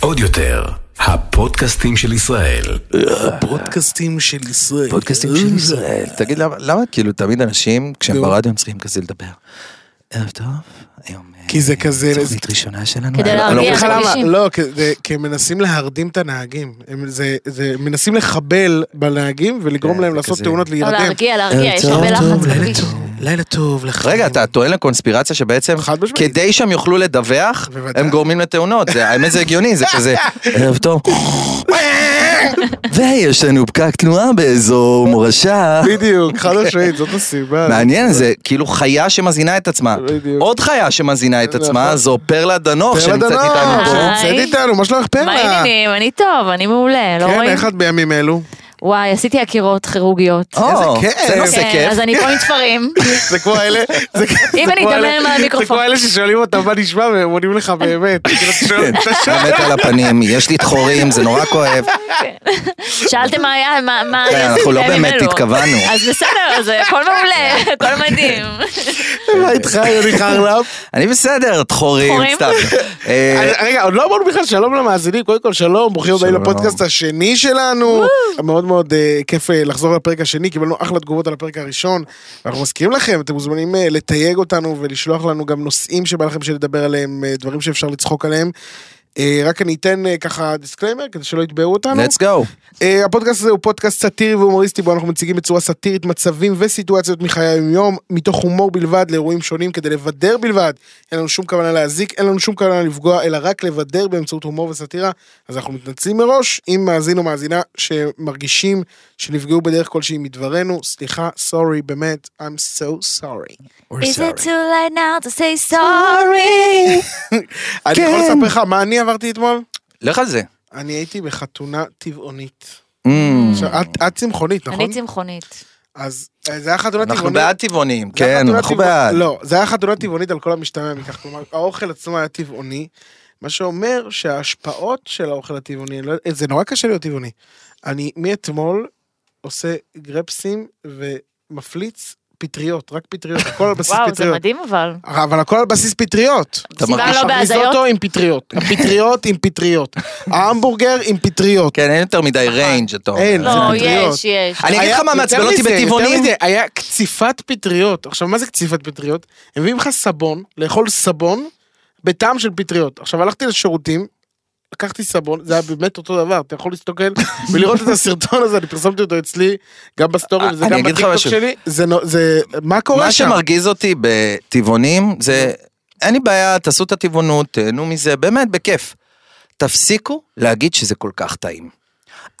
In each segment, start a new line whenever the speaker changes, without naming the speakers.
עוד יותר, הפודקאסטים של ישראל.
פודקאסטים של ישראל.
פודקאסטים של ישראל. תגיד, למה- למה כאילו תמיד אנשים, כשהם
נו.
ברדיו הם צריכים כזה לדבר? ערב טוב, היום...
כי זה
אה,
כזה-
תוכנית ראשונה שלנו.
כדי
אני לא- אני לא
להרגיע.
רוצה-
לך למה?
כן, מרגישים.
לא, כי זה- כי הם מנסים להרדים את הנהגים. הם זה- זה- מנסים לחבל בנהגים ולגרום
כן,
להם
זה
לעשות
כזה-
תאונות
לא,
להירדם.
להרגיע, להרגיע, יש הרבה
ערב
לחץ
טוב, לילה
בכביש.
טוב, לילה טוב לך.
רגע, אתה טוען לקונספירציה שבעצם,
חד משמעית.
כדי שהם יוכלו לדווח,
בוודאי.
הם גורמים לתאונות. זה- האמת זה הגיוני, זה כזה, ערב טוב. ויש לנו פקק תנועה באזור מורשה.
בדיוק, חד משמעית, זאת הסיבה.
מעניין, זה כאילו חיה שמזינה את עצמה.
בדיוק.
עוד חיה שמזינה את עצמה,
נכון.
זו פרלה דנוך
פרלה
שנמצאת
דנוך,
איתנו פה.
היי.
לא. נמצאת איתנו, מה שלומך
מה
פרלה?
העניינים? אני טוב, אני מעולה, לא
כן,
רואים?
איך את בימים אלו?
וואי, עשיתי עקירות כירורגיות.
או,
איזה כיף.
זה נושא
כן,
כיף.
אז אני פה עם תפרים.
זה כמו אלה, זה
אם
זה
אני
כמו
אדבר
אלה-
מהמיקרופון.
זה כמו אלה ששואלים אותם מה נשמע והם עונים לך באמת. כאילו, אתה שואל-
כן.
אתה שואל-
באמת על הפנים, יש לי חורים, זה נורא כואב.
שאלתם מה היה, מה... מה
כן,
היה
אנחנו לא
בימים
באמת
אלו.
התכוונו.
אז בסדר, אז אה, הכל מעולה,
כן.
הכל מדהים.
מה לא, איתך יוני חרלפ?
אני בסדר, חורים,
חורים?
סתם. אה,
אז- רגע, עוד לא אמרנו בכלל שלום למאזינים, קודם כל שלום, ברוכים הבאים
שלום.
לפודקאסט השני שלנו. מאוד מאוד אה, כיף אה, לחזור לפרק השני, קיבלנו אחלה תגובות על הפרק הראשון. אנחנו מזכירים לכם, אתם מוזמנים אה, לתייג אותנו ולשלוח לנו גם נושאים שבא לכם שנדבר עליהם, אה, דברים שאפשר לצחוק עליהם. אה, רק אני אתן אה, ככה דיסקליימר כדי שלא יתבעו אותנו.
let's go.
אה, הפודקאסט הזה הוא פודקאסט סאטירי והומוריסטי בו אנחנו מציגים בצורה סאטירית מצבים וסיטואציות מחיי היום-יום מתוך הומור בלבד לאירועים שונים כדי לבדר בלבד. אין לנו שום כוונה להזיק, אין לנו שום כוונה לפגוע אלא רק לבדר באמצעות הומור וסאטירה אז אנחנו מתנצלים מראש אם מאזין או מאזינה שמרגישים שנפגעו בדרך כלשהי מדברנו סליחה סורי באמת I'm so sorry.
Is it too late now to say sorry?
אני יכול לספר לך מה אני עברתי אתמול?
כן. לך על זה.
כן! אני הייתי בחתונה טבעונית.
Mm,
עכשיו, את- את צמחונית נכון?
אני צמחונית.
אז אה, זה היה חתונה טבעונית.
אנחנו בעד טבעונים,
זה היה
כן,
חתונה
אנחנו
טבעונית-
בעד.
לא, זה היה חתונה טבעונית על כל המשתמע מכך. כלומר, האוכל עצמו היה טבעוני, מה שאומר שההשפעות של האוכל הטבעוני, לא- זה נורא קשה להיות טבעוני. אני מאתמול עושה גרפסים ומפליץ פטריות, רק פטריות, הכל על בסיס
וואו, זה
פטריות. אה,
מדהים אבל.
אבל הכל על בסיס פטריות.
אתה
סיבה
מרגיש-
לא בהזיות?
הריזוטו עם פטריות, הפטריות עם פטריות, ההמבורגר עם פטריות.
כן, אין יותר מדי ריינג' אתה אומר.
אין, זה
לא,
פטריות.
יש, יש.
אני אגיד
היה-
לך מה
יותר
מעצבן אותי
מזה, יותר
בטבעונים.
מזה, היה קציפת פטריות. עכשיו, מה זה קציפת פטריות? הם מביאים לך סבון, לאכול סבון, בטעם של פטריות. עכשיו, הלכתי לשירותים, לקחתי סבון, זה היה באמת אותו דבר, אתה יכול להסתכל ולראות את הסרטון הזה, אני פרסמתי אותו אצלי, גם בסטורי, וזה
אה, אני
גם
אגיד לך
בטיקטוק
משהו.
שלי. זה, נו- זה, מה קורה
מה
שם?
שמרגיז אותי בטבעונים זה, אין לי בעיה, תעשו את הטבעונות, תהנו מזה, באמת, בכיף. תפסיקו להגיד שזה כל כך טעים.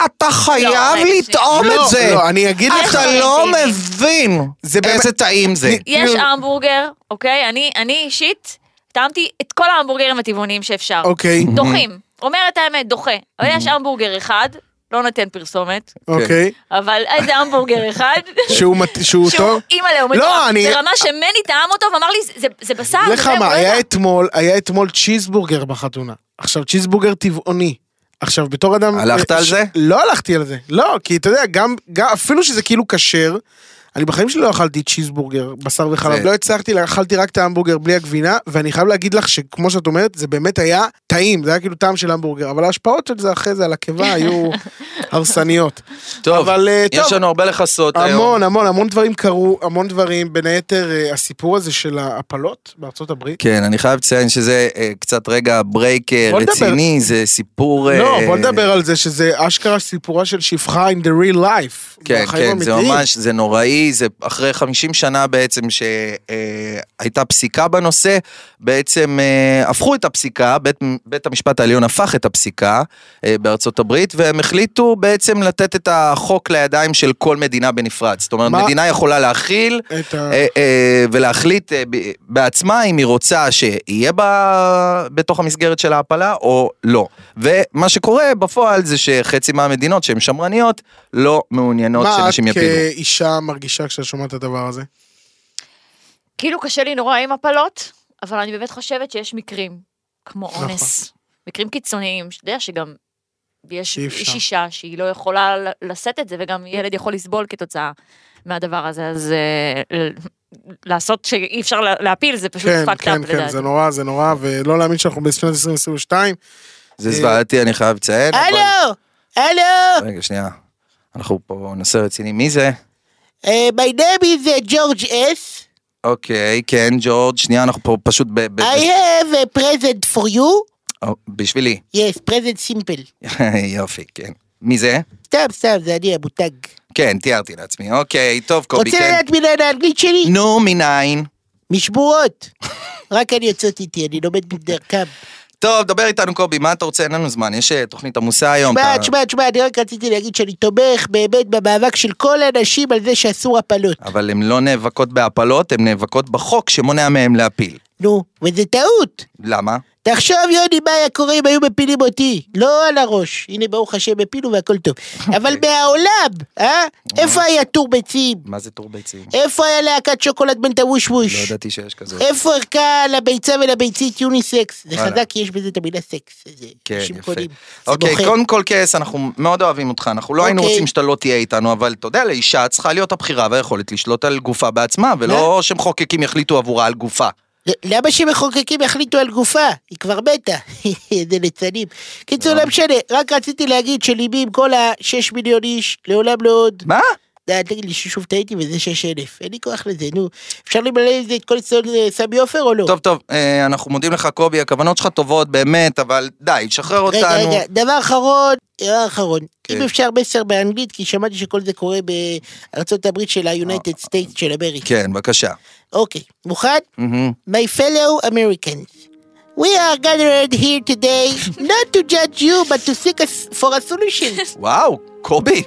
לא,
אתה חייב
רגע,
לטעום
לא,
את זה.
לא, אני אגיד
אה,
לך,
אתה
איך
לא
זה
מבין
זה באמת-
איזה טעים זה.
יש
כאילו-
המבורגר, אוקיי? אני אני אישית טעמתי את כל ההמבורגרים הטבעוניים שאפשר.
אוקיי,
דוחים. אומרת האמת, דוחה. אבל יש המבורגר אחד, לא נותן פרסומת,
כן.
אוקיי,
אבל איזה המבורגר אחד.
שהוא מת- שהוא
שהוא
טוב.
אימא'לה, הוא
לא,
מטורף,
אני-
ברמה שמני טעם אותו ואמר לי, "זה- זה- זה בשר, זה
לך
זה,
מה,
הוא לא יודע."
היה אתמול, היה אתמול צ'יזבורגר בחתונה. עכשיו, צ'יזבורגר טבעוני. עכשיו, בתור אדם...
הלכת
אה,
על
ש-
זה?
לא הלכתי על זה. לא, כי אתה יודע, גם, גם אפילו שזה כאילו כשר, אני בחיים שלי לא אכלתי צ'יזבורגר, בשר וחלב,
זה-
לא הצלחתי, אכלתי רק את ההמבורגר בלי הגבינה, ואני חייב להגיד לך שכמו שאת אומרת, זה באמת היה טעים, זה היה כאילו טעם של המבורגר, אבל ההשפעות של זה אחרי זה על הקיבה היו הרסניות.
טוב,
אבל אה, טוב,
יש לנו הרבה אה, לכסות היום.
המון, המון, המון דברים קרו, המון דברים, בין היתר אה, הסיפור הזה של ההפלות בארצות הברית.
כן, אני חייב לציין שזה אה, קצת רגע ברייק אה,
בוא נדבר.
רציני, זה סיפור...
לא,
אה,
בוא נדבר על זה שזה אשכרה סיפורה של שפחה in the real life.
כן,
בחיים
כן, זה
האמיתיים.
ממש, זה נוראי, זה אחרי 50 שנה בעצם שהייתה פסיקה בנושא, בעצם אה, הפכו את הפסיקה, בית, בית המשפט העליון הפך את הפסיקה אה, בארצות הברית, והם החליטו בעצם לתת את החוק לידיים של כל מדינה בנפרד. זאת אומרת,
מה-
מדינה יכולה להכיל
את ה-
אה, אה, ולהחליט אה, ב- בעצמה אם היא רוצה שיהיה בה בתוך המסגרת של ההעפלה או לא. ומה שקורה בפועל זה שחצי מהמדינות שהן שמרניות לא מעוניינות
מה כן. את
שנשים יפילו.
כאישה מרגישה כשאת שומעת את הדבר הזה?
כאילו קשה לי נורא עם הפלות, אבל אני באמת חושבת שיש מקרים, כמו
נכון.
אונס, מקרים קיצוניים, שאתה יודע שגם יש
שאי אפשר.
איש אישה שהיא לא יכולה ל- לשאת את זה, וגם ילד יכול לסבול כתוצאה מהדבר הזה, אז אה, ל- לעשות שאי אפשר לה- להפיל, זה פשוט
כן,
fucked
כן,
up
כן,
לדעתי.
זה נורא, זה נורא, ולא להאמין שאנחנו בשנת 2022.
זה זוועתי, אני חייב לציין. אבל-
הלו,
רגע, שנייה. אנחנו פה נושא רציני. מי זה?
אה,
my name is ג'ורג' אס.
אוקיי, כן, ג'ורג', שנייה, אנחנו פה פשוט ב... ב-
I have a present for you.
ב- בשבילי.
Yes, present simple.
יופי, כן. מי זה?
סתם, סתם, זה אני המותג.
כן, תיארתי לעצמי. אוקיי, טוב, קובי,
רוצה
כן.
לדעת מנין האנגלית שלי?
נו, מניין?
משמורות. רק אני יוצאת איתי, אני לומד בדרכם.
טוב, דבר איתנו, קובי, מה אתה רוצה? אין לנו זמן, יש אה, תוכנית עמוסה היום.
תשמע,
אתה-
תשמע, תשמע, אני רק רציתי להגיד שאני תומך באמת במאבק של כל הנשים על זה שאסור הפלות.
אבל הן לא נאבקות בהפלות, הן נאבקות בחוק שמונע מהן להפיל.
נו, וזה טעות.
למה?
תחשוב, יוני, מה היה קורה אם היו מפילים אותי? לא על הראש. הנה, ברוך השם, הפילו והכל טוב.
אוקיי.
אבל מהעולם, אה? איפה היה טור ביצים?
מה זה טור ביצים?
איפה היה להקת שוקולד בן תאוש
לא
ווש?
ידעתי שיש כזאת.
איפה ערכה לביצה ולביצית יוניסקס? זה
וואלה.
חזק, כי יש בזה את המילה סקס. זה
כן,
אנשים
יפה.
קונים, זה
אוקיי,
מוכר.
קודם כל כעס, אנחנו מאוד אוהבים אותך, אנחנו לא היינו
אוקיי.
רוצים שאתה לא תהיה איתנו, אבל אתה יודע, לאישה צריכה להיות הבחירה והיכולת לשלוט על גופה בעצמה, ולא שמחוקקים יחליטו עבורה על גופה.
ל- למה שמחוקקים יחליטו על גופה? היא כבר מתה. זה ליצנים. קיצור, לא משנה, רק רציתי להגיד שליבי עם כל השש מיליון איש, לעולם לא עוד.
מה?
די, אל תגיד לי ששוב טעיתי וזה שש אלף. אין לי כוח לזה, נו. אפשר למלא את זה את כל ניסיון אה, סמי עופר או לא?
טוב, טוב, אה, אנחנו מודים לך, קובי, הכוונות שלך טובות, באמת, אבל די, שחרר
רגע,
אותנו.
רגע, דבר אחרון, דבר אחרון.
כן.
אם אפשר מסר באנגלית, כי שמעתי שכל זה קורה בארצות הברית של ה-United States של אמריקה.
אה, כן, בבקשה.
אוקיי, מוכן?
מהמם.
My fellow Americans, we are gathered here today not to judge you but to seek us for a solution.
וואו, קובי.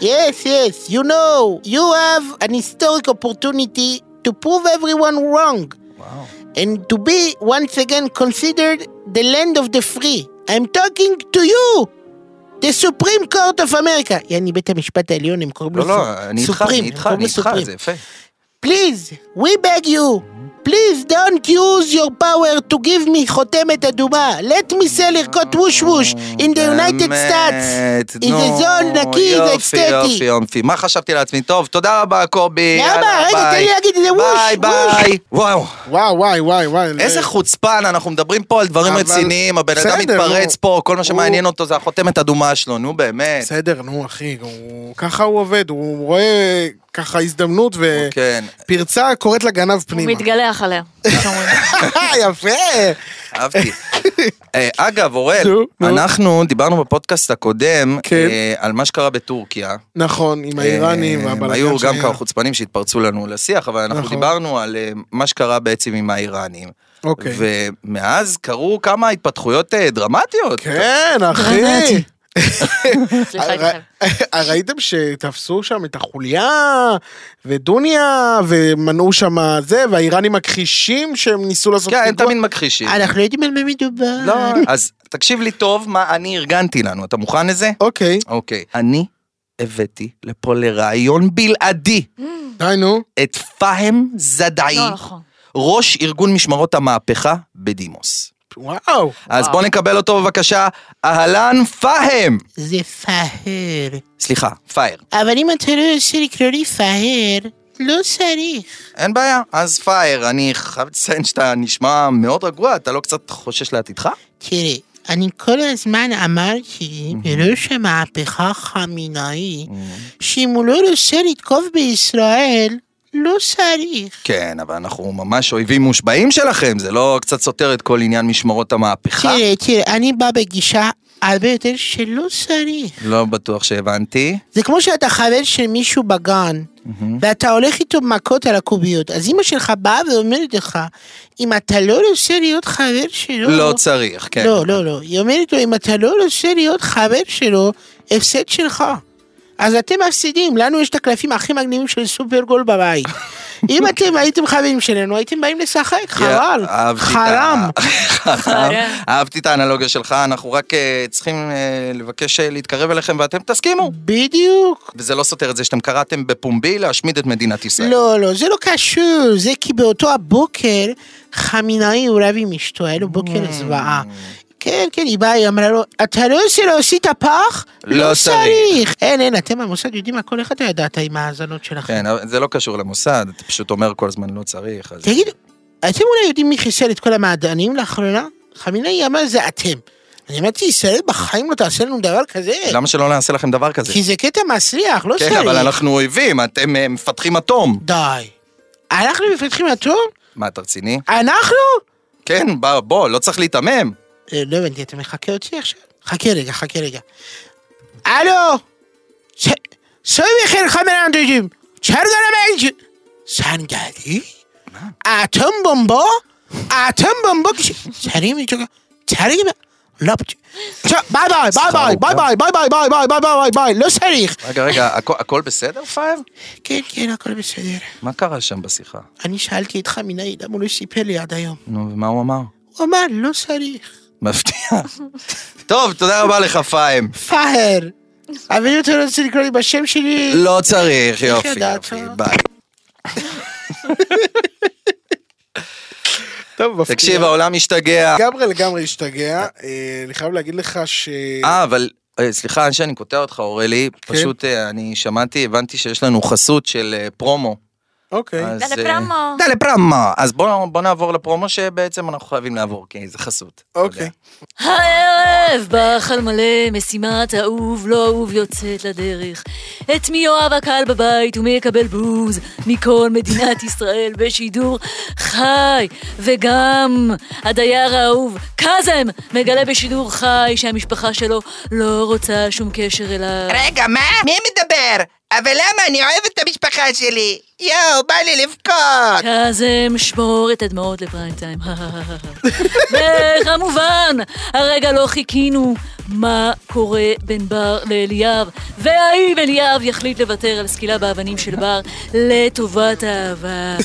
yes, yes, you know, you have an historic opportunity to prove everyone wrong
וואו.
and to be once again considered the land of the free. I'm talking to you! The Supreme Court of America. יעני בית המשפט העליון הם קוראים לו
לא, לא, אני איתך,
Supreme,
אני
הם
איתך,
קוראים
אני
לו
איתך,
Supreme.
זה יפה.
Please, we beg you, please don't use your power to give me חותמת אדומה. Let me sell ערכות ווש ווש in the United States.
באמת,
זה
נו,
זול, נקי, זה
יופי, יופי,
אסתטי.
יופי. מה חשבתי לעצמי? טוב, תודה רבה, קובי.
למה?
יאללה,
רגע,
ביי.
תן לי להגיד את זה,
ביי,
ווש, ווש.
ביי. וואו,
וואי, וואי, וואי, וואי.
איזה
אה,
חוצפן, אנחנו מדברים פה על דברים
אבל-
רציניים, הבן אדם
בסדר,
מתפרץ
הוא-
פה, כל מה
הוא-
שמעניין אותו זה החותמת אדומה שלו, נו באמת.
בסדר, נו, אחי, הוא- ככה הוא עובד, הוא רואה ככה הזדמנות
כן.
ופרצה קוראת לגנב
הוא
פנימה.
מתגלח עליה.
יפה.
אהבתי. אה, אגב, אורל,
נו, נו.
אנחנו דיברנו בפודקאסט הקודם
כן.
אה, על מה שקרה בטורקיה.
נכון, עם האיראנים
אה,
והבלגן
היו גם
שהיה.
כמה חוצפנים שהתפרצו לנו לשיח, אבל אנחנו
נכון.
דיברנו על אה, מה שקרה בעצם עם האיראנים.
אוקיי.
ומאז קרו כמה התפתחויות אה, דרמטיות.
כן, אחי.
דרמטי. סליחה איתכם.
ר- אה, ראיתם שתפסו שם את החוליה ודוניה ומנעו שם זה והאיראנים מכחישים שהם ניסו לעשות
כן, הם
פיגוע?
תמיד מכחישים.
אה,
אנחנו לא יודעים על מה מדובר.
לא, אז תקשיב לי טוב מה אני ארגנתי לנו, אתה מוכן לזה?
אוקיי,
אוקיי. אני הבאתי לפה לרעיון בלעדי
די נו.
את פאהם זדאי,
לא נכון.
ראש ארגון משמרות המהפכה בדימוס.
וואו.
אז
וואו.
בוא נקבל אותו בבקשה, אהלן פאהם!
זה פאהר.
סליחה, פאייר.
אבל אם אתה לא רוצה לקרוא לי פאהר, לא צריך.
אין בעיה, אז פייר, אני חייב לציין שאתה נשמע מאוד רגוע, אתה לא קצת חושש לעתידך?
תראה, אני כל הזמן אמרתי לראש המהפכה חמינאי, שאם הוא לא רוצה לתקוף בישראל, לא צריך.
כן, אבל אנחנו ממש אויבים מושבעים שלכם, זה לא קצת סותר את כל עניין משמרות המהפכה?
תראה, תראה, אני בא בגישה הרבה יותר שלא צריך.
לא בטוח שהבנתי.
זה כמו שאתה חבר של מישהו בגן, ואתה הולך איתו מכות על הקוביות, אז אמא שלך באה ואומרת לך, אם אתה לא רוצה להיות חבר שלו...
לא צריך, כן.
לא, לא, לא. היא אומרת לו, אם אתה לא רוצה להיות חבר שלו, הפסד שלך. אז אתם מפסידים, לנו יש את הקלפים הכי מגניבים של סופרגול בבית. אם אתם הייתם חברים שלנו, הייתם באים לשחק, חבל,
יא, אהבתי את ה-
חרם. כן.
חרם. אהבתי את האנלוגיה שלך, אנחנו רק אה, צריכים אה, לבקש אה, להתקרב אליכם ואתם תסכימו.
בדיוק.
וזה לא סותר את זה שאתם קראתם בפומבי להשמיד את מדינת ישראל.
לא, לא, זה לא קשור,
Mm.
זה כי באותו הבוקר חמינאי הוא רב עם אשתו, היה לו בוקר זוועה. כן, כן, היא באה, היא אמרה לו, אתה לא עושה להוציא את הפח?
לא צריך."
אין, אין, אתם המוסד יודעים הכל, איך אתה ידעת עם ההאזנות שלכם?
כן, אבל זה לא קשור למוסד, אתה פשוט אומר כל הזמן לא צריך. אז-
תגיד, אתם אולי יודעים מי חיסל את כל המעדנים לאחרונה? חמינאי אמר זה אתם. אני אמרתי, ישראל בחיים לא תעשה לנו דבר כזה.
למה שלא נעשה לכם דבר כזה?
כן. כי זה קטע מסריח, לא
כן,
צריך.
אבל אנחנו אויבים, אתם אה, מפתחים אטום.
די. אנחנו מפתחים אטום?
מה, אתה רציני?
אנחנו?
כן, בוא, בוא, לא צריך להיתמם.
אה, לא הבנתי, אתה מחכה אותי עכשיו? חכה רגע, חכה רגע. הלו! ש- סוי בחיר חמינאי אנדוג'ים. צ'רגל המייג' סנגלי? אטום בומבו? אטום בומבו? סרים איתו? סרים? לא, ש- ביי ביי, ביי ביי, ביי ביי, ביי ביי, ביי ביי, ביי ביי, ביי, לא צריך.
רגע, רגע, הכ- הכל בסדר, פאב?
כן, כן, הכל בסדר.
מה קרה שם בשיחה?
אני שאלתי את חמינאי למה הוא לא סיפר לי עד היום.
נו, ומה הוא אמר?
הוא אמר, לא צריך.
מפתיע. טוב, תודה רבה לך, פאם.
פאהר. אבל אם אתה רוצה לקרוא לי בשם שלי...
לא צריך, יופי,
ידעת? אה?
יופי, ביי.
טוב, מפתיע.
תקשיב, העולם השתגע.
לגמרי לגמרי השתגע. אה, אני חייב להגיד לך ש...
אה, אבל, אה, סליחה שאני קוטע אותך, אורלי,
כן.
פשוט אה, אני שמעתי, הבנתי שיש לנו חסות של אה, פרומו.
אוקיי.
אז,
דלה
אה,
פרומו.
דלה פרומו. אז בואו בואו נעבור לפרומו שבעצם אנחנו חייבים לעבור, כי זה חסות. אתה יודע.
אוקיי.
הערב בח על מלא, משימת האהוב לא אהוב יוצאת לדרך. את מי יאהב הקהל בבית ומי יקבל בוז מכל מדינת ישראל בשידור חי. וגם הדייר האהוב, קאזם, מגלה בשידור חי שהמשפחה שלו לא רוצה שום קשר אליו.
רגע, מה? מי מדבר? אבל למה? אני אוהב את המשפחה שלי. יואו, בא לי לבכות.
קאזם, שמור את הדמעות לפריים טיים. וכמובן, אה, הרגע לא חיכינו מה קורה בין בר לאליאב, והאם אליאב יחליט לוותר על סקילה באבנים של בר לטובת האהבה.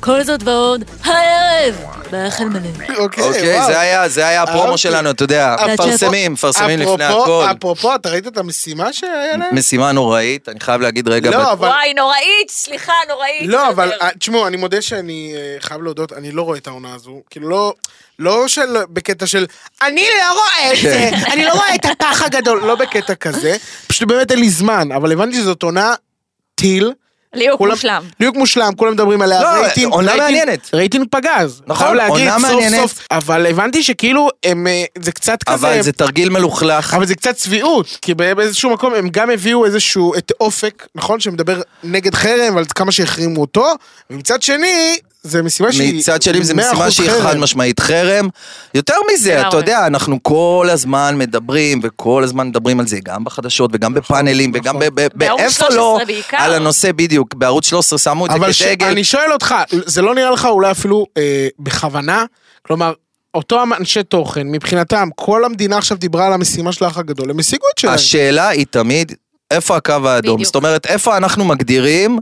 כל זאת ועוד, הערב, באכל מלא.
אוקיי,
אוקיי,
וואו.
זה היה, זה היה הפרומו
אהבתי.
שלנו, אתה יודע,
אפרופו-
מפרסמים, מפרסמים לפני
אפרופו-
הכל.
אפרופו, אתה ראית את המשימה שהיה להם?
משימה נוראית, אני חייב להגיד רגע, בת-
לא, אבל...
נוראית, סליחה, נוראית.
לא, אבל אה, תשמעו, אני מודה שאני אה, חייב להודות, אני לא רואה את העונה הזו. כאילו, לא... לא של... בקטע של... אני לא רואה את זה!
כן.
אני לא רואה את הפח הגדול! לא בקטע כזה. פשוט באמת אין לי זמן, אבל הבנתי שזאת עונה טיל.
ליהוק
כולם- ליהוק מושלם, כולם מדברים עליה.
לא,
רייטינג-
עונה
רייטינג-
מעניינת.
רייטינג פגז.
נכון,
חייב להגיד,
עונה
סוף
מעניינת.
סוף. אבל הבנתי שכאילו, הם, אה, זה קצת כזה...
אבל זה תרגיל מלוכלך.
אבל זה קצת צביעות, כי בא- באיזשהו מקום הם גם הביאו איזשהו, את אופק, נכון? שמדבר נגד חרם, אבל כמה שהחרימו אותו, ומצד שני, זה משימה שהיא...
מצד שני זה
100%
משימה שהיא
חרם.
חד משמעית חרם. יותר מזה, אתה
לגמרי.
יודע, אנחנו כל הזמן מדברים, וכל הזמן מדברים על זה, גם בחדשות וגם
נכון,
בפאנלים, וגם ב- ב-
בערוץ
באיפה
13
לא,
בעיקר.
על הנושא בדיוק, בערוץ 13 שמו את זה
אבל ש-
כדגל.
אני שואל אותך, זה לא נראה לך אולי אפילו אה, בכוונה? כלומר, אותו אנשי תוכן, מבחינתם, כל המדינה עכשיו דיברה על המשימה של האח הגדול, הם השיגו את שלהם.
השאלה היא תמיד, איפה הקו האדום?
בדיוק.
זאת אומרת, איפה אנחנו מגדירים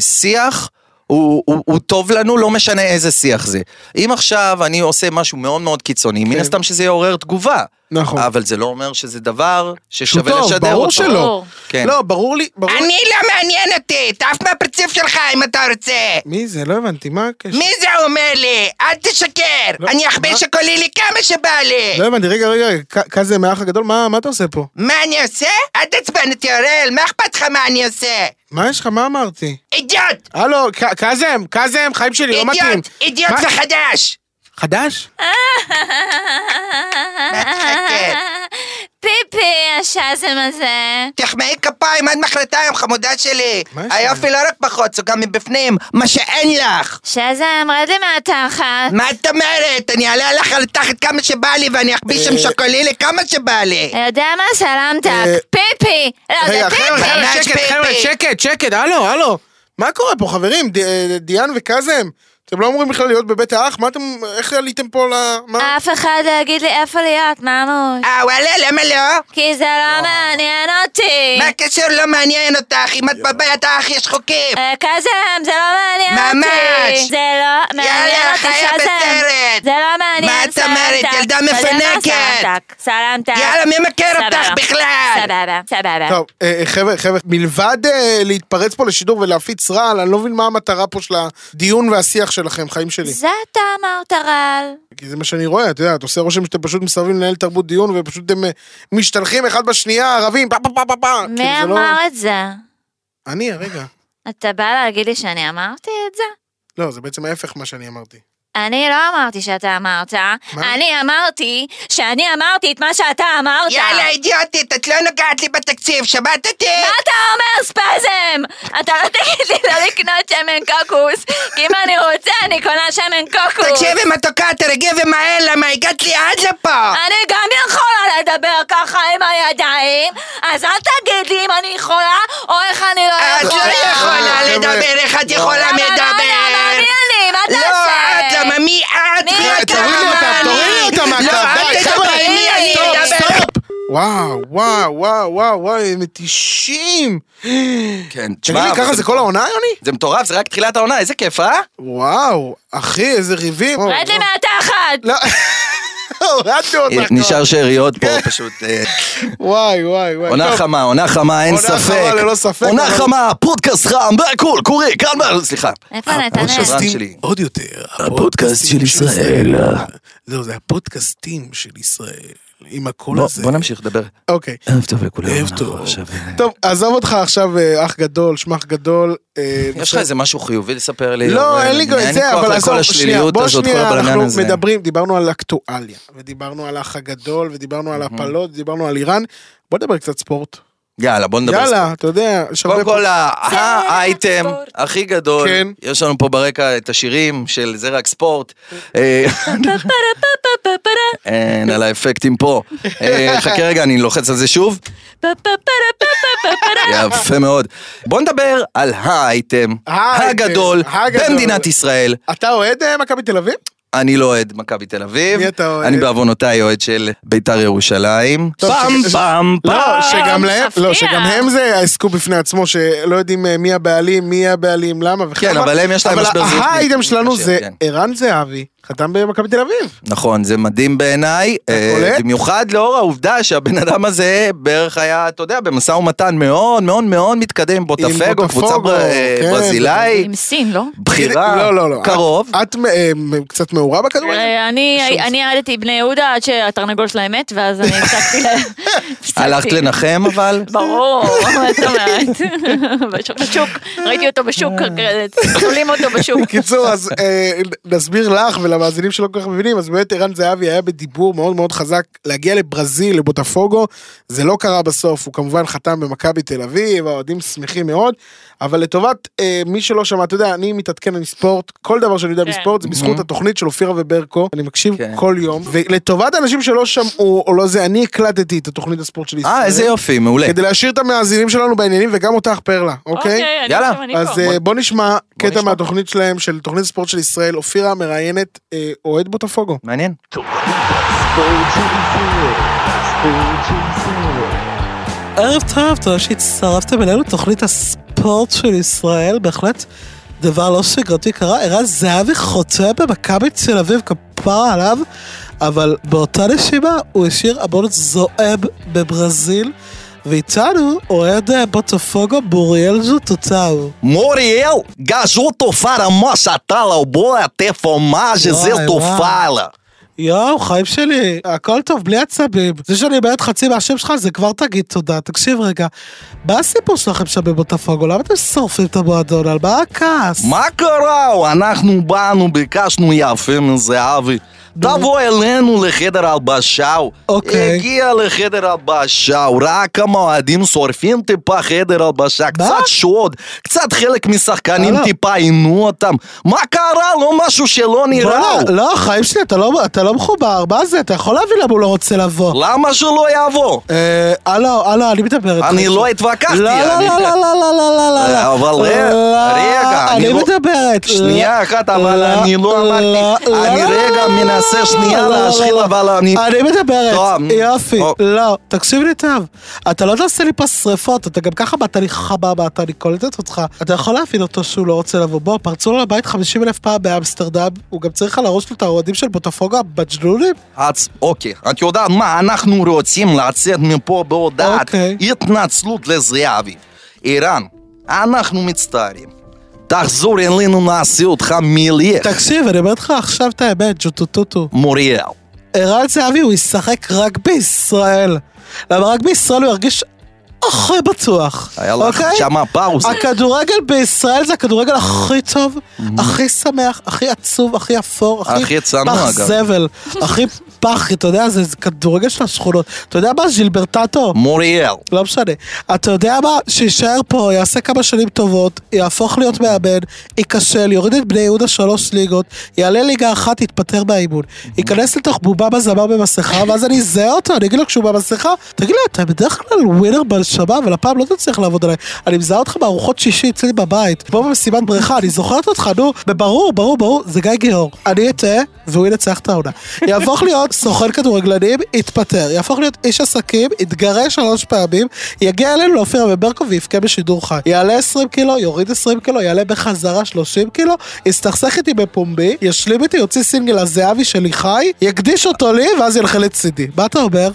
ששיח... הוא, הוא, הוא טוב לנו, לא משנה איזה שיח זה. אם עכשיו אני עושה משהו מאוד מאוד קיצוני, מן
כן.
הסתם שזה יעורר תגובה.
נכון.
אבל זה לא אומר שזה דבר
שהוא
ששווה
טוב,
לשדר
ברור
אותו.
שלא.
כן.
לא, ברור לי, ברור לי.
אני לא מעניין אותי, תעף מהפרצוף שלך אם אתה רוצה.
מי זה? לא הבנתי, מה הקשר?
מי זה אומר לי? אל תשקר!
לא,
אני
מה?
אכבש הקולי לי כמה שבא לי!
לא הבנתי, רגע, רגע, כ- כזה מהאח הגדול, מה מה אתה עושה פה?
מה אני עושה? אל תעצבן אותי אוראל, מה אכפת לך מה אני עושה?
מה יש לך? מה אמרתי?
אידיוט!
הלו, ק- קאזם, קאזם, חיים שלי, לא מתאים.
אידיוט! אידיוט
מה?
זה חדש!
חדש?
פיפי, השאזם הזה.
תחמאי כפיים עד מחרתיים, חמודה שלי!
מה יש
היופי לא רק בחוץ, הוא גם מבפנים, מה שאין לך!
שאזם, רד לי מהתחת.
מה את אומרת? אני אעלה לך על התחת כמה שבא לי ואני אכביש עם שוקולילי כמה שבא לי!
יודע מה?
אה,
סלמתק. פיפי! לא, זה
רגע, חבר'ה,
פיפי!
חבר'ה,
ממש
שקט,
פיפי.
חבר'ה, שקט, שקט, הלו, הלו. מה קורה פה, חברים? ד- אה, דיאן וקאזם, אתם לא אמורים בכלל להיות בבית האח? מה אתם, איך עליתם פה ל... מה?
אף אחד לא יגיד לי איפה להיות, ממוש.
אה וואלה, למה לא?
כי זה לא מעניין אותי.
מה הקשר לא מעניין אותך? אם את בבית האח יש חוקים!
אה, קאזם, זה לא מעניין
ממש.
אותי. זה לא מעניין
יאללה,
אותי,
חיה
שאזם.
בסרט.
זה לא מעניין,
מה את אומרת?
סלמתק.
ילדה
אתה יודע מה?
מפנקת.
סלמתק. סלמתק.
יאללה, מי מכיר
סבבה.
אותך בכלל?
סבבה, סבבה.
טוב, אה, חבר'ה, חבר'ה, מלבד אה, להתפרץ פה לשידור ולהפיץ רעל, אני לא מבין מה המטרה פה של הדיון והשיח שלכם, חיים שלי.
זה אתה אמרת רעל.
Mm.
כי זה מה שאני רואה, את יודעת, עושה רושם שאתם פשוט מסרבים לנהל תרבות דיון ופשוט אתם אה, משתלחים אחד בשנייה, ערבים, פה פה פה פה פה. כאילו,
מי
זה לא-
אמר את זה?
אני, רגע.
אתה בא להגיד לי שאני אמרתי את זה?
לא, זה בעצם ההפך מה שאני אמרתי.
אני לא אמרתי שאתה אמרת, אה?
מה?
אני אמרתי שאני אמרתי את מה שאתה אמרת.
יאללה, אידיוטית, את לא נוגעת לי בתקציב, שמעת אותי?
מה אתה אומר ספזם? אתה לא תגיד לי לא לקנות שמן קוקוס, כי אם אני רוצה אני קונה שמן קוקוס.
תקשיבי מתוקה, תרגעי ומהר, למה הגעת לי עד לפה?
אני גם יכולה לדבר ככה עם הידיים, אז אל תגיד לי אם אני יכולה או איך אני לא
את
יכולה.
לא יכולה
חבר'ה.
לדבר, איך את יכולה
למה, למה, למה,
לדבר?
מי אני? מה תעשה?
לא, את למה מי את?
מי
חברת
אתה? תורידי אותה,
המאני.
תורידי אותה מהקו,
לא,
די,
אל
חבר'ה.
תדברי, מי אני
סטופ,
אדבר?
סטופ! וואו, וואו, וואו, וואו, וואו, הם מתישים!
כן,
תגיד
תשמע,
לי,
אבל
ככה
זה-
זה כל העונה, יוני?
זה מטורף, זה רק תחילת העונה, איזה כיף, אה?
וואו, אחי, איזה ריבים.
רד לי מהתחת!
לא, הורדנו אותך. כבר.
אה, נשאר שאריות פה פשוט. אה,
וואי, וואי, וואי.
עונה
טוב,
חמה, עונה חמה, אין
עונה
ספק.
חמה ללא ספק,
עונה
אבל-
חמה, פודקאסט חם, והכול, קורא, כאן, ב- סליחה.
איפה נתנאל?
הפודקאסט שלי.
עוד יותר.
הפודקאסט של ישראל.
זהו, זה הפודקאסטים של ישראל. עם הקול
בוא-
הזה.
בוא נמשיך לדבר.
אוקיי.
ערב טוב לכולם.
לא ערב
אנחנו
טוב.
עכשיו, אה,
טוב, עזוב אותך עכשיו, אה, אח גדול, שמח גדול. אה,
יש לך איזה משהו חיובי לספר לי?
לא,
אבל
אין לי גם את זה,
כוח
אבל
לכל
עזוב, שנייה,
השליליות
בוא
הזאת, כל
שנייה,
הבלגן
אנחנו
הזה.
מדברים, דיברנו על אקטואליה, ודיברנו על האח הגדול, ודיברנו על הפלות, דיברנו על איראן, בוא נדבר קצת ספורט.
יאללה, בוא נדבר. ספורט.
יאללה, אתה יודע, יש הרבה...
קודם כל,
פה-
ה-
זה רק
האייטם
ספורט.
הכי גדול,
כן.
יש לנו פה ברקע את השירים של זה רק ספורט. אה,
פפרה,
אין על האפקטים פה. אה, חכה רגע, אני לוחץ על זה שוב.
פפרה, פפרה.
יפה מאוד. בוא נדבר על האייטם
האייטם,
הגדול
הגדול.
במדינת ישראל.
אתה אוהד אה, מכבי תל אביב?
אני לא אוהד מכבי תל אביב.
מי אתה אוהד?
אני בעוונותיי אוהד של ביתר ירושלים.
טוב,
פעם,
ש-
פעם,
לא,
פעם.
שגם להם, לא,
מפתיע.
שגם הם זה העסקו בפני עצמו, שלא יודעים אה, מי הבעלים, מי הבעלים, למה וכמה.
כן, אבל הם יש להם משבר
אבל
זהות
האייטם
מתמשך,
שלנו זה
כן.
ערן זהבי, חתם במכבי תל אביב.
נכון, זה מדהים בעיניי, אה,
קולט?
במיוחד לאור העובדה שהבן אדם הזה בערך היה, אתה יודע, במשא ומתן מאוד מאוד מאוד מתקדם עם בוטפגו, קבוצה
בוטפגו,
בר- אה,
כן.
ברזילאי,
עם סין, לא?
בחירה,
לא, לא, לא.
קרוב.
את- את אה, קצת מעורה בכדורגל?
אה, אני אני אהדתי בני יהודה עד שהתרנגול שלהם מת, ואז אני הפסקתי להם.
אה,
הפסקתי.
הלכת לנחם אבל?
ברור, מה זאת אומרת? בש- בשוק, ראיתי אותו בשוק, כזה, תולים אותו בשוק.
קיצור, אז אה, נסביר לך ולמאזינים שלא כל כך מבינים, אז באמת ערן זהבי היה בדיבור מאוד מאוד חזק להגיע לברזיל, לבוטפוגו, זה לא קרה בסוף, הוא כמובן חתם במכבי תל אביב, האוהדים שמחים מאוד, אבל לטובת אה, מי שלא שמע, אתה יודע, אני מתעדכן עם ספורט, כל דבר שאני יודע
כן.
בספורט זה בזכות
מהמם.
התוכנית של אופירה וברקו, אני מקשיב
Mhm. כן.
כל יום, ולטובת אנשים שלא שמעו או לא זה, אני הקלטתי את התוכנית הספורט של ישראל,
אה, איזה יופי, מעולה.
כדי להשאיר את המאזינים שלנו בעניינים וגם אותך פרלה, אוקיי?
אוקיי, אני
יאללה.
עכשיו אני
אז
פה.
אה, בוא נשמע קטע
נשמע.
מהתוכנית שלהם, של תוכנית הספורט של ישראל, אופירה מראיינת אה, אוהד בוטפוגו.
מעניין.
ערב טוב, תודה שהצטרפתם אלינו לתוכנית הספורט של ישראל, בהחלט דבר לא שגרתי קרה. ערן זהבי חוטא במכבי תל אביב, כפרה עליו, אבל באותה נשימה הוא השאיר הבונוס זועם בברזיל, ואיתנו אוהד אה, בוטפוגו בוריאל זוטוטאו.
Moriel, gajuto faramossa tala, o boa até fomagem,
Uai,
zesto
uai.
fala.
יואו, חיים שלי, הכל טוב, בלי עצבים. זה שאני בעד חצי מהשם שלך, זה כבר תגיד תודה. תקשיב רגע, מה הסיפור שלכם שם בבוטפוגו? למה אתם שורפים את המועדון? על מה הכעס?
מה קרה? אנחנו באנו, ביקשנו יפה מזהבי. תבוא אלינו לחדר הלבשה.
אוקיי.
הגיע לחדר הלבשה, ראה כמה אוהדים שורפים טיפה חדר הלבשה. קצת שוד, קצת חלק משחקנים
וואלה.
טיפה עינו אותם. מה קרה? לא משהו שלא נראה.
בוא'נה, לא, חיים שלי, אתה לא, אתה לא מחובר, מה זה? אתה יכול להבין למה הוא לא רוצה לבוא.
למה שלא יבוא?
אה, הלו, הלו, אני מדברת.
אני
חיים
לא
שלי.
התווכחתי.
לא, לא,
אני-
לא, לא, לא, לא, לא, לא, לא.
אבל רגע,
לא,
רגע, אני
אני
לא-
מדברת.
שנייה
לא,
אחת, אבל אני לא אמרתי,
לא,
אני
לא,
רגע
לא,
מנסה
לא,
שנייה
לא, לא,
להשחיל,
לא.
אבל אני...
אני מדברת,
טוב,
יופי,
או-
לא, תקשיב לי טוב, אתה לא תעשה לי פה שריפות, אתה גם ככה באת לי חבבה, אתה אני קולטת אותך, אתה יכול להבין אותו שהוא לא רוצה לבוא, בוא, פרצו לו לבית 50 אלף פעם באמסטרדם, הוא גם צריך על הראש לו את האוהדים של בוטפוגו בג'נונים?
את- אוקיי, את יודעת מה, אנחנו רוצים לצאת מפה בהודעת
אוקיי.
התנצלות לזהבי. ערן, אנחנו מצטערים.
תחזור אלינו, נעשה אותך מלך.
תקשיב, אני אומר לך עכשיו את האמת, ג'וטוטוטו.
מוריאל.
ערן זהבי הוא ישחק רק בישראל. למה רק בישראל הוא ירגיש הכי בטוח.
היה לך
אוקיי?
שמה פאוס.
הכדורגל בישראל זה הכדורגל הכי טוב, הכי שמח, הכי עצוב, הכי אפור,
הכי
הכי
צנוע
פח
גם.
זבל, הכי פח, אתה יודע, זה זה כדורגל של השכונות. אתה יודע מה, ז'ילברטטו?
מוריאל.
לא משנה. אתה יודע מה? שיישאר פה, יעשה כמה שנים טובות, יהפוך להיות מאמן, ייכשל, יוריד את בני יהודה שלוש ליגות, יעלה ליגה אחת, יתפטר מהאימון. ייכנס לתוך בובה בזמר במסכה, ואז אני אזהה אותו, אני אגיד לו כשהוא במסכה, תגיד לו, אתה בדרך כלל ווינר בנשמה, אבל הפעם לא תצליח לעבוד עליי. אני מזהה אותך בארוחות שישי אצלי בבית, כמו במסיבת בריכה, אני זוכרת אותך, נו, ברור, ברור, ברור, זה גיא גיאור. אני אטעה, והוא ינצח את העונה. יהפוך להיות סוכן כדורגלנים, יתפטר. יהפוך להיות איש עסקים, יתגרש שלוש פעמים, יגיע אלינו לאופיר וברקו ויבכה בשידור חי. יעלה 20 קילו, יוריד 20 קילו, יעלה בחזרה 30 קילו, יסתכסך איתי בפומבי, ישלים איתי, יוציא סינגל הזהבי שלי חי, יקדיש אותו לי, ואז ילכה לצידי. מה אתה אומר?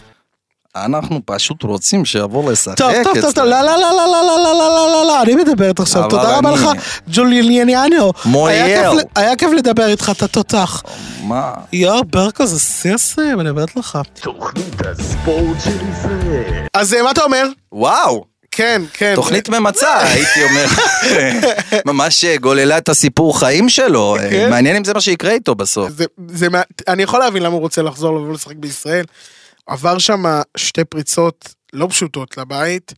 אנחנו פשוט רוצים שיבוא לשחק
טוב, טוב, טוב, טוב,
אצלנו.
לא, לא, לא, לא, לא, לא, לא, לא, לא, לא, לא, אני מדברת עכשיו,
אבל
תודה רבה
אני-
לך, ג'וליאניאנו.
מויאל.
היה כיף ל- היה כיף לדבר איתך, אתה תותח.
מה?
יואו, ברקו זה שיא השיאים, אני אומרת לך.
אז אה, מה אתה אומר?
וואו.
כן, כן.
תוכנית ממצה, הייתי אומר. ממש אה, גוללה את הסיפור חיים שלו. אה,
כן.
מעניין אם זה מה שיקרה איתו בסוף.
זה, זה, מה- אני יכול להבין למה הוא רוצה לחזור לבוא לשחק בישראל. עבר שם שתי פריצות לא פשוטות לבית.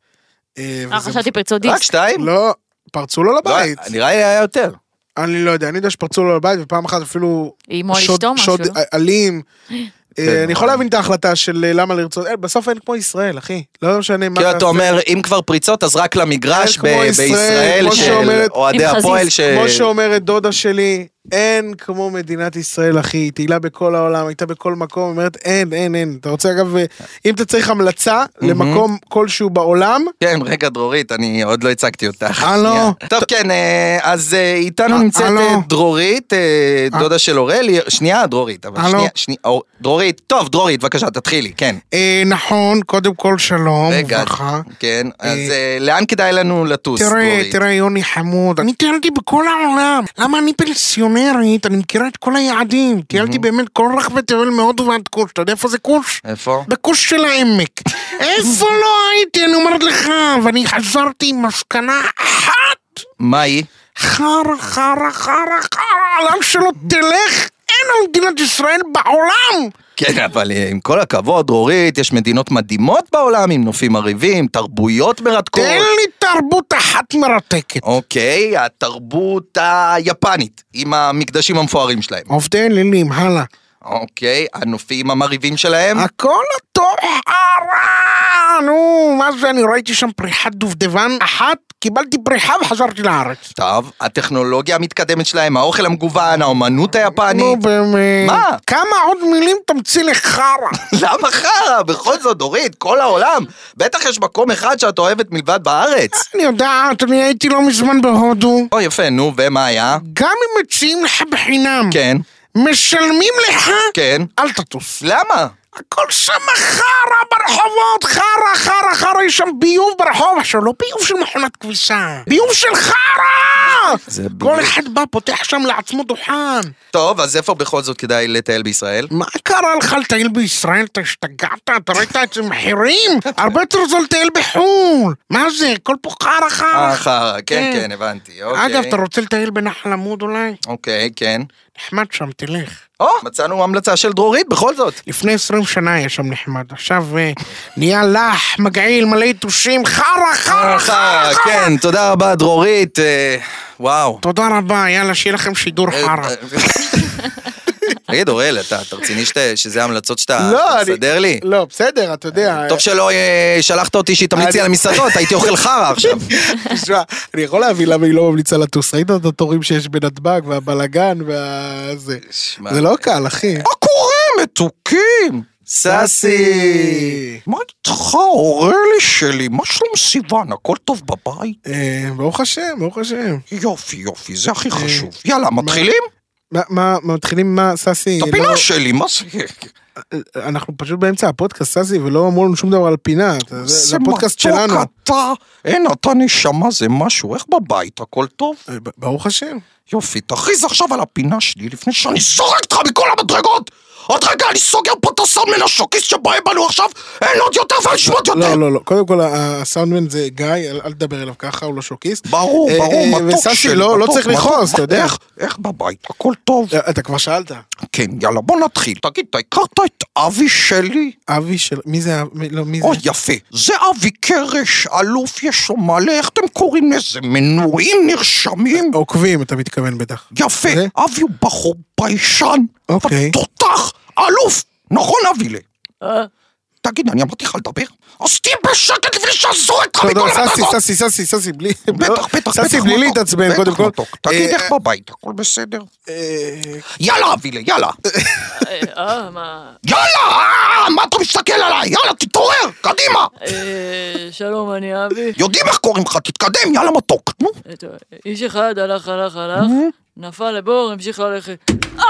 אה,
אה,
וזה-
חשבתי פרצות
רק
דיסק.
שתיים?
לא, פרצו לו
לא,
לבית.
נראה לי היה יותר.
אני לא יודע, אני יודע שפרצו לו לבית, ופעם אחת אפילו
איימו על
שוד-
אשתו משהו.
שוד
לא?
אלים.
כן,
אה, אני יכול להבין את ההחלטה של אה, למה לרצות, אה, בסוף אין כמו ישראל, אחי. לא משנה מה...
כי אתה אומר, אם כבר פריצות, אז רק למגרש
אין
ב-
כמו ישראל,
בישראל
כמו
של
שאומרת-
אוהדי
עם חזיז.
הפועל. ש-
כמו שאומרת דודה שלי, אין כמו מדינת ישראל, אחי. היא תהילה בכל העולם, הייתה בכל מקום, אומרת, אין, אין, אין. אתה רוצה, אגב, אה, אם אתה צריך המלצה למקום כלשהו בעולם,
כן, רגע, דרורית, אני עוד לא הצגתי אותך.
הלו.
שנייה. טוב, כן, אה, אז אה, איתנו נמצאת
הלו.
אה, דרורית, אה, דודה של אורל, היא- שנייה, דרורית, אבל
הלו.
שנייה, שנייה, אור- דרורית, טוב, דרורית, בבקשה, תתחילי, כן.
אה, נכון, קודם כל שלום,
רגע,
וברכה.
כן, אז
אה,
אה, לאן כדאי לנו לטוס,
תראה,
דרורית?
תראה, יוני חמוד, אני טיילתי בכל העולם. למה אני פנסיונרית? אני מכירה את כל היעדים. טיילתי באמת כל רחבי תבל מהודו ועד כוש. אתה יודע איפה זה כוש?
איפה?
בכוש של העמק. איפה לא הייתי, אני אומרת לך, ואני חזרתי עם מסקנה אחת.
מה היא?
חרא, חרא, חרא, חרא, לאן שלא תלך, אין על מדינת ישראל בעולם!
כן, אבל אה, עם כל הכבוד, דרורית, יש מדינות מדהימות בעולם, עם נופים עריבים, תרבויות מרתקות.
תן לי תרבות אחת מרתקת.
אוקיי, התרבות היפנית, עם המקדשים המפוארים שלהם.
עובדי אלילים, הלאה.
אוקיי, הנופים המרהיבים שלהם.
הכל אותו חרא! נו, מה זה, אני ראיתי שם פריחת דובדבן אחת, קיבלתי פריחה וחזרתי לארץ.
טוב, הטכנולוגיה המתקדמת שלהם, האוכל המגוון, האומנות
נו,
היפנית.
באמת.
מה?
כמה עוד מילים תמציא לחרא?
למה חרא? בכל זאת, דורית, כל העולם. בטח יש מקום אחד שאת אוהבת מלבד בארץ.
אני יודעת, אני הייתי לא מזמן בהודו.
או, יפה, נו, ומה היה?
גם אם מציעים לך בחינם,
כן,
משלמים לך,
כן.
אל תטוס.
למה?
הכל שם חרא ברחובות, חרא, חרא, חרא, יש שם ביוב ברחוב. עכשיו, לא ביוב של מכונת כביסה, ביוב של חרא! כל אחד בא, פותח שם לעצמו דוכן.
טוב, אז איפה בכל זאת כדאי לטייל בישראל?
מה קרה לך לטייל בישראל? אתה השתגעת? אתה ראית את המחירים? הרבה יותר זול לטייל בחו"ל. מה זה? הכל פה חרא
אה,
חרא.
חרא, כן,
כן.
כן, הבנתי, אוקיי.
אגב, אתה רוצה לטייל בנחל עמוד אולי?
אוקיי, כן.
נחמד שם, תלך.
או, מצאנו המלצה של דרורית בכל זאת.
לפני 20 שנה היה שם נחמד, עכשיו אה, נהיה לח, מגעיל, מלא יתושים, חרא, חרא, חרא,
אה, חרא,
חרא.
כן, תודה רבה, דרורית. אה, וואו.
תודה רבה, יאללה, שיהיה לכם שידור
אה,
חרא.
תגיד, אוראל, אתה אתה רציני שת- שזה ההמלצות שאתה
לא, אני-
מסדר לי?
לא, בסדר, אתה יודע.
טוב שלא אה, שלחת אותי שהיא תמליצי
אני-
על המסעדות, הייתי אוכל חרא עכשיו.
תשמע, אני יכול להבין למה היא לא ממליצה לטוס. ראית את התורים שיש בנתב"ג והבלגן והזה.
שמע.
זה לא קל, אחי.
מה קורה, מתוקים?
ססי.
ססי! מה איתך, אורלי שלי? מה שלום סיוון? הכל טוב בבית?
אה, ברוך השם, ברוך השם.
יופי, יופי, זה הכי חשוב. יאללה, מתחילים?
מה- מה, מתחילים מה, ססי?
את
לא-
הפינה שלי, מה זה?
אנחנו פשוט באמצע הפודקאסט, סאסי, ולא אמרו לנו שום דבר על פינה. זה- זה הפודקאסט שלנו.
אתה, אין, אתה נשמה, זה משהו, איך בבית, הכל טוב?
אה, ב- ברוך השם.
יופי, תכריז עכשיו על הפינה שלי לפני שאני זורק אותך מכל המדרגות! עוד רגע אני סוגר פה את הסאונדמן השוקי שבא בנו עכשיו, אין עוד יותר ואין שמות יותר!
לא, לא, לא. קודם כל, ה- הסאונדמן זה גיא, אל אל תדבר אליו ככה, הוא לא שוקיסט.
ברור,
אה,
ברור,
אה,
מתוק שלי.
וסאסי, לא לא
מתוק,
צריך
מתוק,
לכעוס, אתה יודע.
איך- איך בבית, הכל טוב.
אה, אתה כבר שאלת.
כן, יאללה, בוא נתחיל. תגיד, אתה הכרת את אבי שלי?
אבי של... מי זה? אב- מי- לא, מי זה?
אוי, יפה. זה אבי קרש, אלוף יש לו מלא, איך אתם קוראים לזה? מנויים נרשמים?
עוקבים, אתה מתכוון בטח.
יפה,
זה?
אבי הוא בחור ביישן.
אוקיי.
תותח, אלוף. נכון, אבילה? תגיד, אני אמרתי לך לדבר? אז תהיה בשקט לפני שזורק אותך
טוב,
מכל
טוב, לא, סאסי,
הדרגות.
סאסי, סאסי, סאסי, בלי... לא,
בטח, בטח, בטח.
סאסי, בלי
מתוק,
להתעצבן,
בטח,
קודם כל.
מתוק. תגיד
אה,
איך בבית, הכל בסדר?
אה,
יאללה, אבילה, יאללה.
אה, אה, מה?
יאללה! אה, מה אתה מסתכל עליי? יאללה, תתעורר, קדימה!
אה, שלום, אני אבי.
יודעים איך קוראים לך, תתקדם, יאללה מתוק. נו,
אה, טוב, איש אחד הלך, הלך, הלך, נפל לבור, המשיך ללכת. אה!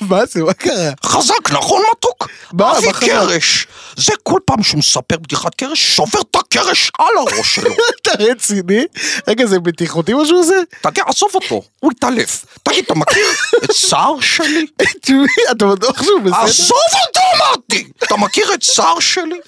מה זה? מה קרה?
חזק, נכון מתוק?
מה,
אבי
מה חזק?
קרש. זה כל פעם שהוא מספר בדיחת קרש, שובר את הקרש על הראש שלו.
אתה רציני? רגע, זה בטיחותי מה שהוא עושה?
תגיד, עזוב אותו, הוא יתעלף. תגיד, אתה מכיר את סער שלי?
תשמעי, אתה בטוח שהוא בסדר?
עזוב אותו, אמרתי! אתה מכיר את סער שלי?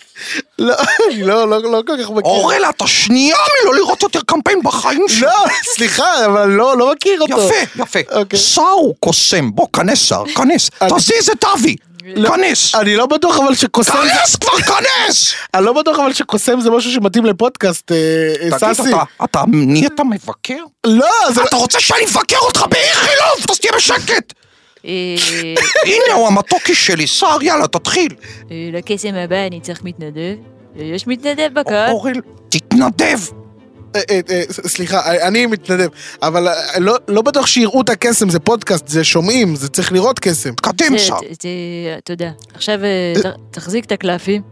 לא, אני לא, לא לא כל כך מכיר.
אורלה, אתה שנייה מלא לראות יותר קמפיין בחיים שלי.
לא, סליחה, אבל לא, לא מכיר אותו.
יפה, יפה.
אוקיי.
סער הוא קוסם, בוא, כנס סער, כנס. תזיז את אבי, כנס.
אני לא בטוח אבל שקוסם,
כנס כבר, כנס!
אני לא בטוח אבל שקוסם זה משהו שמתאים לפודקאסט, אה, אה,
תגיד,
סאסי.
אתה, אתה נהיית מבקר?
לא, זה
אתה רוצה שאני אבקר אותך באיכילוב? אז תהיה בשקט!
אה,
הנה הוא המתוקי שלי, סער, יאללה, תתחיל.
אה, לקסם הבא אני צריך מתנדב. אה, יש מתנדב בקהל?
אורל, תתנדב.
אה, אה, אה, ס- סליחה, אה, אני מתנדב, אבל אה, לא- לא בטוח שיראו את הקסם, זה פודקאסט, זה שומעים, זה צריך לראות קסם.
תקדם
זה-
סער.
זה- זה- תודה. עכשיו אה, ת- תחזיק את הקלפים.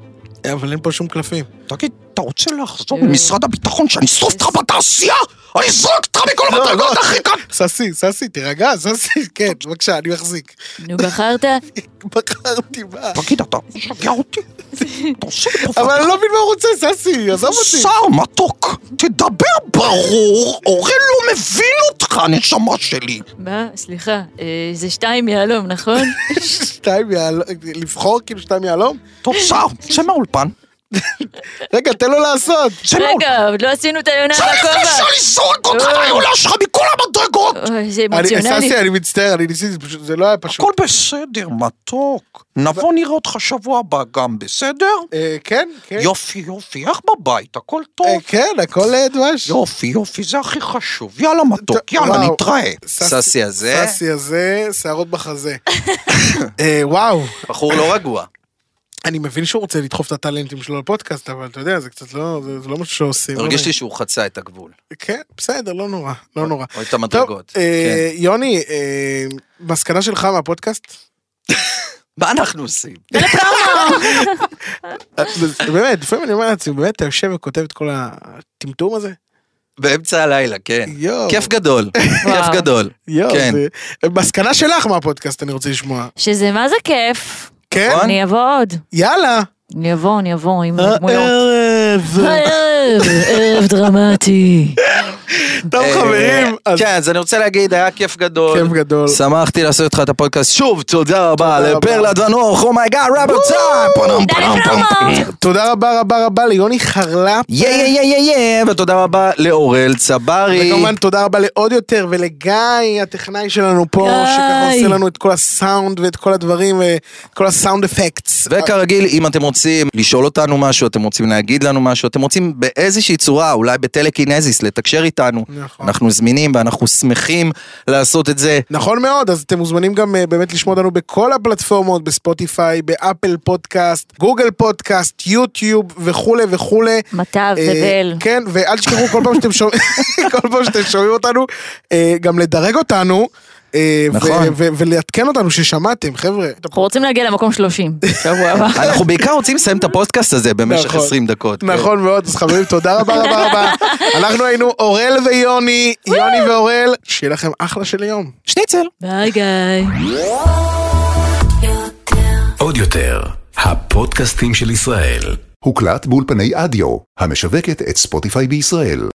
אה, אבל אין פה שום קלפים.
תגיד, אתה רוצה לחזור
אה.
למשרד הביטחון שאני אשרוף אותך בתעשייה? אני אזרוק אותך מכל המדרגות, אחי, כאן.
ססי, ססי, תירגע, ססי, כן, בבקשה, אני מחזיק.
נו, בחרת?
בחרתי מה.
תגיד, אתה משגע אותי? אתה עושה לי פה
אבל
פדיחה.
אני לא מבין מה הוא רוצה, ססי, עזוב אותי.
שר מתוק, תדבר ברור, אורל לא מבין אותך, נשמה שלי.
מה? סליחה, אה, זה שתיים יהלום, נכון?
שתיים יהלום, לבחור כאילו שתיים יהלום?
טוב, שר, צא מהאולפן.
רגע, תן לו לעשות.
צא מהאולפן.
רגע, עוד לא עשינו את היונה
צא לפני
בכובע.
שאני זורק אותך מהעולה שלך מכל המדרגות.
אוי, זה
אני-
אמוציונלי.
ססי, אני מצטער, אני ניסיתי, פשוט- זה לא היה פשוט.
הכל בסדר, מתוק. נבוא נראה אותך שבוע הבא גם, בסדר?
אה, כן, כן.
יופי, יופי, איך בבית? הכל טוב.
אה, כן, הכל אה, דבש.
יופי, יופי, זה הכי חשוב. יאללה, מתוק,
ט-
יאללה,
וואו.
נתראה.
ססי הזה,
ססי הזה, שערות בחזה. אה, וואו,
בחור לא רגוע.
אני מבין שהוא רוצה לדחוף את הטאלנטים שלו לפודקאסט, אבל אתה יודע, זה קצת לא, זה זה לא משהו שעושים. לא
הרגיש
נעים.
לי שהוא חצה את הגבול.
כן, בסדר, לא נורא, לא נורא.
או את המדרגות.
טוב, אה,
כן.
יוני, אה, מסקנה שלך מהפודקאסט?
מה אנחנו עושים?
אה, באמת, לפעמים אני אומר לעצמי, באמת, אתה יושב וכותב את כל הטמטום הזה?
באמצע הלילה, כן.
יואו.
כיף גדול, כיף גדול.
יואו,
כן.
זה- אה, מסקנה שלך מהפודקאסט אני רוצה לשמוע.
שזה מה זה כיף.
כן?
נכון?
אני אבוא עוד.
יאללה.
אני אבוא, אני אבוא עם
אה,
דמויות.
הערב.
אה, הערב, ערב דרמטי.
טוב
אה,
חברים, אז
כן, אז אני רוצה להגיד, היה כיף גדול.
כיף גדול.
שמחתי לעשות איתך את הפודקאסט שוב, תודה רבה
רבה.
לפרלד ונוח, אומייגאד, ראבר טיים, פונם פונם פונם.
תודה רבה רבה רבה ליוני חרלפ.
יא יא יא יא יא, ותודה רבה לאורל צברי.
וכמובן תודה רבה לעוד יותר ולגיא הטכנאי שלנו פה,
גיא.
שככה עושה לנו את כל הסאונד ואת כל הדברים ואת כל הסאונד אפקטס.
וכרגיל, אם אתם רוצים לשאול אותנו משהו, אתם רוצים להגיד לנו משהו, אתם רוצים באיזושהי צורה, אולי בטלקינזיס, לתקשר איתנו,
נכון.
אנחנו זמינים ואנחנו שמחים לעשות את זה.
נכון מאוד, אז אתם מוזמנים גם אה, באמת לשמוע אותנו בכל הפלטפורמות, בספוטיפיי, באפל פודקאסט, גוגל פודקאסט, יוטיוב וכולי וכולי.
מטב,
אה,
בבל.
כן, ואל תשכחו כל פעם שאתם שומעים, כל פעם שאתם שומעים אותנו, אה, גם לדרג אותנו. אה, ו-
נכון.
ו- ולעדכן אותנו ששמעתם, חבר'ה.
אנחנו רוצים להגיע למקום 30. שבוע הבא.
אנחנו בעיקר רוצים לסיים את הפודקאסט הזה במשך
נכון.
20 דקות.
נכון מאוד, אז חברים, תודה רבה רבה רבה. אנחנו היינו אורל ויוני, יוני ואורל, שיהיה לכם אחלה של יום.
שניצל.
ביי גיא.
יותר.
עוד יותר, הפודקאסטים של ישראל.
הוקלט באולפני אדיו, המשווקת את ספוטיפיי בישראל.